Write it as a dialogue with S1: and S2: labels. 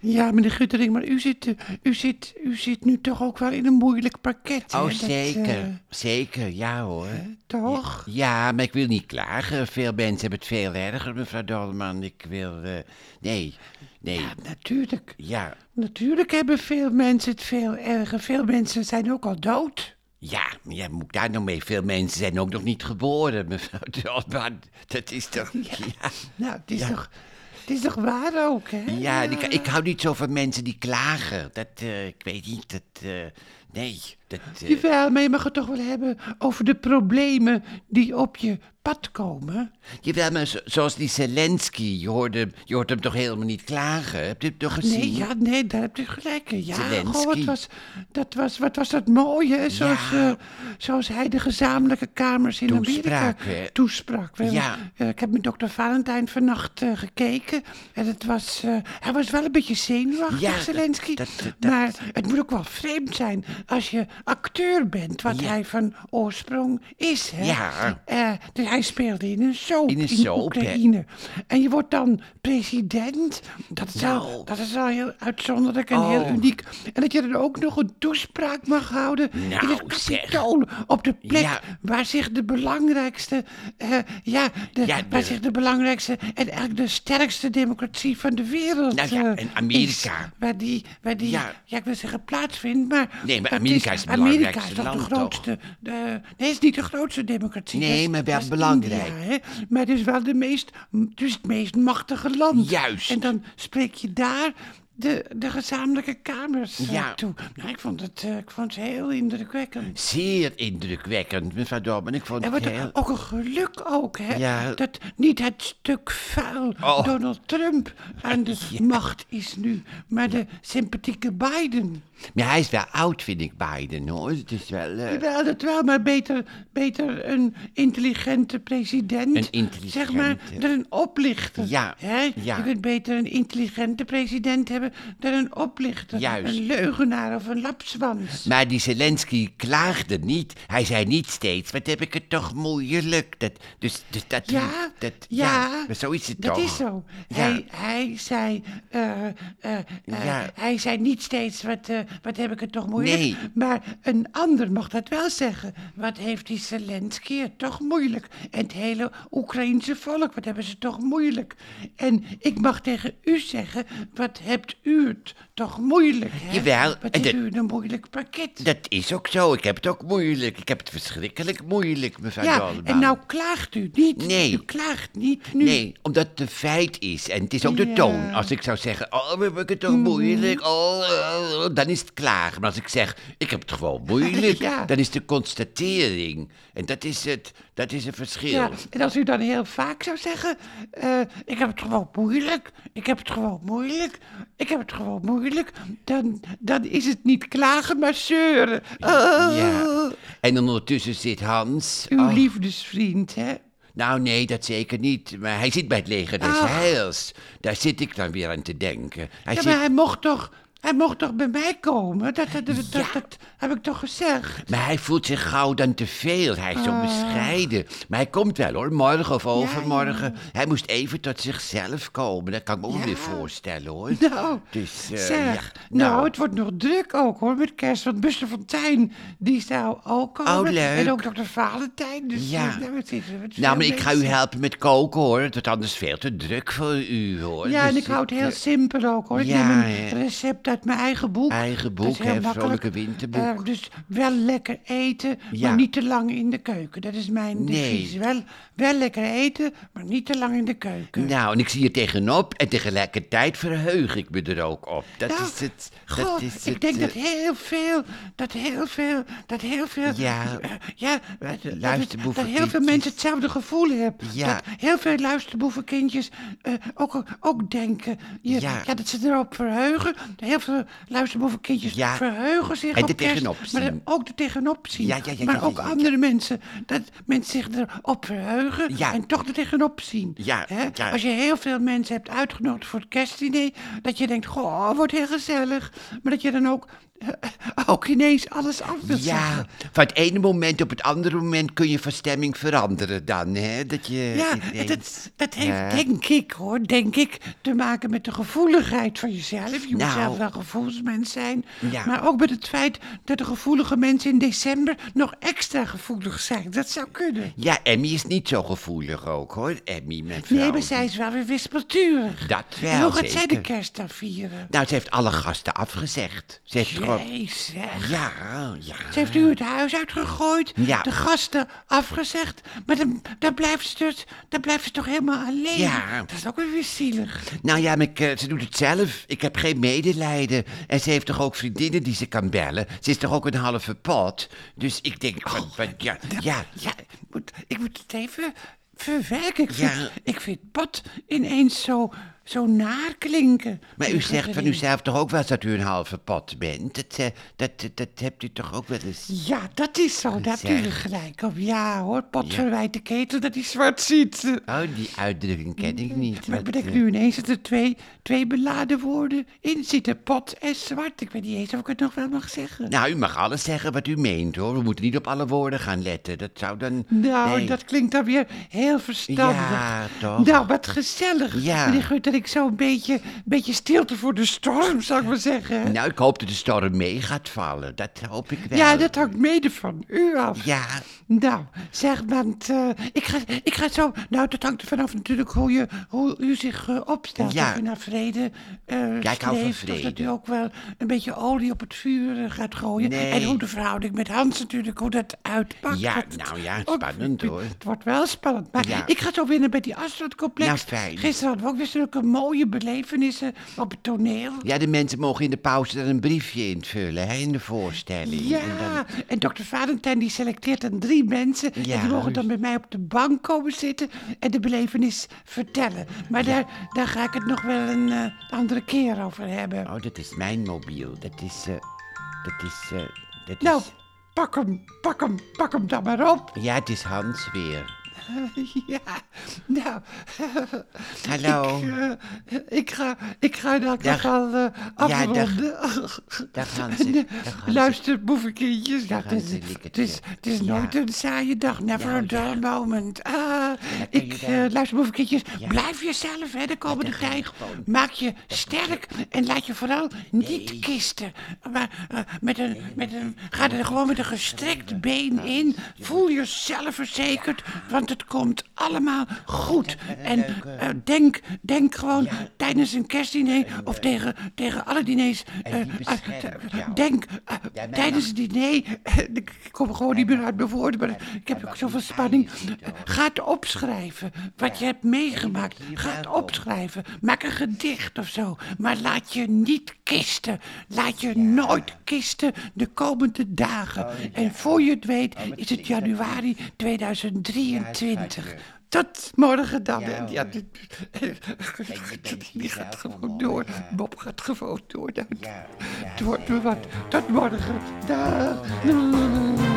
S1: Ja, meneer Guttering, maar u zit, eh, u, zit, u zit nu toch ook wel in een moeilijk pakket. hè?
S2: Oh,
S1: Dat, eh,
S2: zeker. Zeker, ja hoor.
S1: toch?
S2: Ja, maar ik wil niet klagen. Veel mensen hebben het veel erger, mevrouw Dolman. Ik wil... eh, nee, nee.
S1: Ja, natuurlijk.
S2: Ja,
S1: Natuurlijk hebben veel mensen het veel erger. Veel mensen zijn ook al dood.
S2: ja, maar ja, moet ik daar nog mee? Veel mensen zijn ook nog niet geboren, mevrouw Dolman. Dat is toch... Ja,
S1: Nou, het is, toch, het is toch waar ook, hè?
S2: ja, en ik, ik hou niet zo van mensen die klagen. Dat, eh, ik weet niet, dat... eh, nee, dat... eh,
S1: Jawel, maar je mag het toch wel hebben over de problemen die op je pad komen.
S2: Jawel, maar zo- zoals die Zelensky, je hoort hem, je hoort hem toch helemaal niet klagen? Heb je hem toch gezien?
S1: Nee, ja, nee, daar heb je gelijk in. Ja,
S2: Zelensky.
S1: goh, wat, was, dat was, wat was dat mooi, hè? Zoals,
S2: Ja.
S1: eh, zoals hij de gezamenlijke kamers in
S2: Toesprak,
S1: Amerika
S2: hè?
S1: toesprak. We hebben-
S2: Ja.
S1: eh, ik heb met dokter Valentijn vannacht eh, gekeken. En het was, eh, hij was wel een beetje zenuwachtig,
S2: Ja, dat-
S1: Zelensky.
S2: dat- dat-
S1: maar het moet ook wel vreemd zijn als je acteur bent, wat
S2: Ja.
S1: hij van oorsprong is, hè?
S2: Ja.
S1: Eh, dus hij speelde in een soap
S2: In een soap, hè?
S1: Oekraïne. En je wordt dan president. Dat is, al,
S2: Nou.
S1: dat is al heel uitzonderlijk en
S2: Oh.
S1: heel uniek. En dat je dan ook nog een toespraak mag houden in
S2: Nou,
S1: het
S2: zeg.
S1: kapitool. Op de plek
S2: Ja.
S1: waar zich de belangrijkste... eh, ja, de,
S2: Ja, de-
S1: waar zich de belangrijkste en eigenlijk de sterkste democratie van de wereld...
S2: Nou ja,
S1: eh,
S2: en Amerika.
S1: is. waar die, waar die ja.
S2: Ja.
S1: ik wil zeggen plaatsvindt, maar...
S2: Nee, maar
S1: het
S2: Amerika is het
S1: Amerika is
S2: belangrijkste
S1: toch de
S2: land, toch?
S1: grootste... eh, nee, het is niet de grootste democratie.
S2: Nee,
S1: dat is-
S2: maar wel
S1: dat is
S2: belangrijk.
S1: India, hè? Maar het is wel de meest, het is het meest machtige land.
S2: Juist.
S1: En dan spreek je daar de, de gezamenlijke kamers eh,
S2: Ja.
S1: toe. Nou, ik vond het, eh, ik vond het heel indrukwekkend.
S2: Zeer indrukwekkend, mevrouw Dolman. Ik vond
S1: En
S2: het
S1: wat
S2: heel...
S1: ook een geluk ook, hè?
S2: Ja.
S1: Dat niet het stuk vuil
S2: Oh.
S1: Donald Trump aan de macht is nu, maar de sympathieke Biden.
S2: Maar hij is wel oud, vind ik, Biden, hoor. Het is wel... eh,
S1: Wel, dat wel, maar beter, beter een intelligente president.
S2: Een intelligente.
S1: Zeg maar, dan een oplichter.
S2: Ja,
S1: Hè?
S2: ja.
S1: Je kunt beter een intelligente president hebben dan een oplichter.
S2: Juist.
S1: Een leugenaar of een lapswans.
S2: Maar die Zelensky klaagde niet. Hij zei niet steeds, wat heb ik het toch moeilijk. Dat, dus, dus dat...
S1: Ja,
S2: dat,
S1: ja,
S2: maar zo is het
S1: dat
S2: toch.
S1: is zo.
S2: Ja.
S1: Hij, hij, zei, eh, eh, eh,
S2: Ja.
S1: hij zei niet steeds, wat, eh, wat heb ik het toch moeilijk.
S2: Nee.
S1: Maar een ander mag dat wel zeggen. Wat heeft die Zelensky het toch moeilijk. En het hele Oekraïense volk, wat hebben ze toch moeilijk. En ik mag tegen u zeggen, wat hebt u het toch moeilijk. Hè?
S2: Jawel,
S1: Wat
S2: en
S1: heeft
S2: dat-
S1: u een moeilijk pakket.
S2: Dat is ook zo. Ik heb het ook moeilijk. Ik heb het verschrikkelijk moeilijk, mevrouw
S1: ja,
S2: Dolman.
S1: en nou klaagt u niet.
S2: Nee.
S1: U klaagt niet nu.
S2: Nee, omdat het een feit is. En het is ook de
S1: Hm. Ja. Hm.
S2: toon. Als ik zou zeggen, oh, heb ik het toch moeilijk? Oh, oh, oh, dan is het klagen. Maar als ik zeg, ik heb het gewoon moeilijk,
S1: Ja.
S2: dan is de constatering. En dat is het, dat is een verschil.
S1: Ja, en als u dan heel vaak zou zeggen: eh, Ik heb het gewoon moeilijk, ik heb het gewoon moeilijk, ik heb het gewoon moeilijk, dan, dan is het niet klagen, maar zeuren. Oh,
S2: Ja. En ondertussen zit Hans.
S1: Uw
S2: Oh,
S1: liefdesvriend, hè?
S2: nou, nee, dat zeker niet. Maar hij zit bij het leger des
S1: Ach.
S2: heils. Daar zit ik dan weer aan te denken. Hij
S1: Ja,
S2: zit...
S1: maar hij mocht toch. Hij mocht toch bij mij komen? Dat, dat, dat, dat- dat heb ik toch gezegd?
S2: Maar hij voelt zich gauw dan te veel. Hij is
S1: Oh.
S2: zo bescheiden. Maar hij komt wel hoor, morgen of overmorgen. Hij moest even tot zichzelf komen. Dat kan ik me ook
S1: Ja.
S2: weer voorstellen hoor.
S1: Nou,
S2: Dus, eh,
S1: zeg,
S2: ja,
S1: nou.
S2: nou.
S1: het wordt nog druk ook hoor met kerst. Want Buster Fontijn, die zou ook komen.
S2: Oh, leuk.
S1: En ook dokter Valentijn. Dus
S2: Ja.
S1: eh, nou, het is- het is veel
S2: Nou, maar ik ga u
S1: mensen.
S2: helpen met koken hoor. Het wordt anders veel te druk voor u hoor.
S1: Ja, en
S2: Dus
S1: ik hou het heel
S2: eh,
S1: simpel ook hoor. Ik
S2: ja,
S1: neem een
S2: hè.
S1: recept uit mijn eigen boek.
S2: Eigen
S1: Dat is
S2: boek,
S1: heel
S2: hè,
S1: makkelijk.
S2: vrolijke winterboek.
S1: Eh, dus wel lekker eten,
S2: Ja.
S1: maar niet te lang in de keuken. Dat is mijn
S2: Nee.
S1: devies. Wel, wel lekker eten, maar niet te lang in de keuken.
S2: Nou, en ik zie je tegenop en tegelijkertijd verheug ik me er ook op. Dat
S1: Nou,
S2: is het.
S1: God,
S2: dat is
S1: ik
S2: het,
S1: denk
S2: eh,
S1: dat heel veel, dat heel veel, dat heel veel...
S2: Ja.
S1: eh, ja, dat, het- dat heel veel
S2: luisterboevenkindjes.
S1: mensen hetzelfde gevoel hebben.
S2: Ja.
S1: Dat heel veel luisterboevenkindjes eh, ook, ook denken. Je- ja.
S2: Ja.
S1: dat ze erop verheugen. Heel heel veel luisterboevenkindjes
S2: Ja.
S1: verheugen zich
S2: En
S1: op
S2: er
S1: kerst,
S2: tegenop
S1: Maar
S2: zien.
S1: ook er tegenop zien.
S2: Ja, ja, ja,
S1: maar
S2: ja, ja,
S1: ook
S2: ja, ja.
S1: andere mensen. Dat mensen zich erop verheugen
S2: Ja.
S1: en toch er tegenop zien.
S2: Ja,
S1: Hè?
S2: ja.
S1: Als je heel veel mensen hebt uitgenodigd voor het kerstdiner... dat je denkt, goh, wordt heel gezellig. Maar dat je dan ook, eh, ook ineens alles af wilt zeggen.
S2: Ja, van het ene moment op het andere moment kun je van stemming veranderen dan, hè? Dat je
S1: Ja,
S2: ineens-
S1: dat, dat heeft
S2: Ja.
S1: denk ik hoor, denk ik, te maken met de gevoeligheid van jezelf. Je moet
S2: Nou.
S1: zelf wel gevoelsmens zijn.
S2: Ja.
S1: Maar ook met het feit dat de gevoelige mensen in december nog extra gevoelig zijn. Dat zou kunnen.
S2: Ja, Emmy is niet zo gevoelig ook, hoor. Emmy, mijn vrouw.
S1: Nee, maar zij is wel weer wispelturig.
S2: Dat wel,
S1: En hoe gaat zij de
S2: zeker.
S1: kerst dan vieren?
S2: Nou, ze heeft alle gasten afgezegd. Ze heeft gewoon...
S1: Jezus.
S2: Ja, ja.
S1: Ze heeft nu het huis uitgegooid,
S2: Ja.
S1: de gasten afgezegd. Maar dan, dan, blijft ze dus, dan blijft ze toch helemaal alleen.
S2: Ja.
S1: Dat is ook weer zielig.
S2: Nou ja, maar ik, eh, ze doet het zelf. Ik heb geen medelijden. En ze heeft toch ook vriendinnen die ze kan bellen. Ze is toch ook een halve pot. Dus ik denk
S1: Oh,
S2: van, van, ja, ja,
S1: Ja, ik moet, ik moet het even verwerken. Ik vind,
S2: Ja.
S1: ik vind pad ineens zo, zo naar klinken.
S2: Maar u
S1: Tegen
S2: zegt van
S1: iedereen.
S2: uzelf toch ook wel eens dat u een halve pot bent? Dat, eh, dat, dat, dat hebt u toch ook wel eens?
S1: Ja, dat is zo. Daar heb je
S2: Zeg.
S1: gelijk op. Ja hoor, pot verwijt de ketel dat hij zwart ziet. Eh,
S2: Oh, die uitdrukking ken ik niet.
S1: Maar ik
S2: Wat,
S1: bedenk
S2: eh,
S1: nu ineens dat er twee, twee beladen woorden in zitten. Pot en zwart. Ik weet niet eens of ik het nog wel mag zeggen.
S2: Nou, u mag alles zeggen wat u meent, hoor. We moeten niet op alle woorden gaan letten. Dat zou dan...
S1: Nou,
S2: Nee.
S1: dat klinkt dan weer heel verstandig.
S2: Ja, toch?
S1: Nou, wat gezellig.
S2: Ja.
S1: Meneer Geurt, dat ik zo een beetje, een beetje stilte voor de storm, zou ik maar zeggen.
S2: Nou, ik hoop dat de storm mee gaat vallen. Dat hoop ik wel.
S1: Ja, dat hangt mede van u af.
S2: Nou. Ja,
S1: Nou, zeg, want eh, ik, ga, ik ga zo... Nou, dat hangt er vanaf natuurlijk hoe, je, hoe u zich eh, opstelt.
S2: Ja.
S1: Of u naar vrede eh
S2: Ja, ik hou van
S1: streeft, Of dat u
S2: vrede.
S1: ook wel een beetje olie op het vuur eh, gaat gooien.
S2: Nee.
S1: En hoe de verhouding met Hans natuurlijk, hoe dat Oh, uitpakt.
S2: Ja,
S1: Want het-
S2: nou ja,
S1: ook-
S2: spannend, hoor.
S1: Het wordt wel spannend. Maar
S2: Ja.
S1: ik ga zo weer naar bij die Astrodcomplex.
S2: Nou, fijn.
S1: Gisteren hadden we ook weer zulke mooie belevenissen op het toneel.
S2: ja, de mensen mogen in de pauze dan een briefje invullen, hè, in de voorstelling. En dan-
S1: Ja, en dokter Valentijn die selecteert dan drie mensen. En die
S2: Ja, dus.
S1: mogen dan
S2: juist.
S1: bij mij op de bank komen zitten en de belevenis vertellen. Maar daar, daar ga ik het nog wel een eh, andere keer over hebben.
S2: Oh, dat is mijn mobiel. Dat is... eh, dat is... eh, dat
S1: Nou,
S2: is...
S1: pak hem, pak hem, pak hem dan maar op.
S2: Ja, het is Hans weer.
S1: ja, nou,
S2: Hallo.
S1: ik, eh, ik, ga, ik ga in elk
S2: Dag.
S1: geval eh,
S2: dag.
S1: afronden.
S2: Dag Hansie. Dag Hansie.
S1: eh, Luister, boevenkindjes. Nou,
S2: Dag,
S1: het, is,
S2: Angelique,
S1: het, is, het is nooit
S2: Ja.
S1: een saaie dag. Never
S2: Nou,
S1: a
S2: ja.
S1: dull moment. Ah,
S2: Lekker
S1: ik,
S2: idee.
S1: eh, luister, boevenkindjes.
S2: Ja.
S1: Blijf jezelf hè, de komende
S2: dat kan
S1: tijd.
S2: gewoon.
S1: Maak je sterk en laat je vooral niet kisten. Maar eh, met een, met een, ga er gewoon met een gestrekt been in. Voel jezelf verzekerd, want het komt allemaal goed. En eh, denk, denk gewoon tijdens een kerstdiner
S2: eh.
S1: of tegen, tegen alle diners. eh,
S2: die
S1: eh,
S2: beschermt jou.
S1: denk eh,
S2: mij
S1: tijdens het diner. eh, ik kom gewoon niet meer uit mijn woorden, maar ik heb ook
S2: mag
S1: zoveel
S2: niet
S1: spanning.
S2: huilen, Guido.
S1: Ga het opschrijven, wat je hebt meegemaakt. Ga het opschrijven. Maak een gedicht of zo. Maar laat je niet kisten. Laat je nooit kisten de komende dagen. En voor je het weet is het januari 2023. Tot morgen dan. Ja, dit, die gaat gewoon door. Bob gaat gewoon door. Nou, Het wordt me wat. Tot morgen. Dag.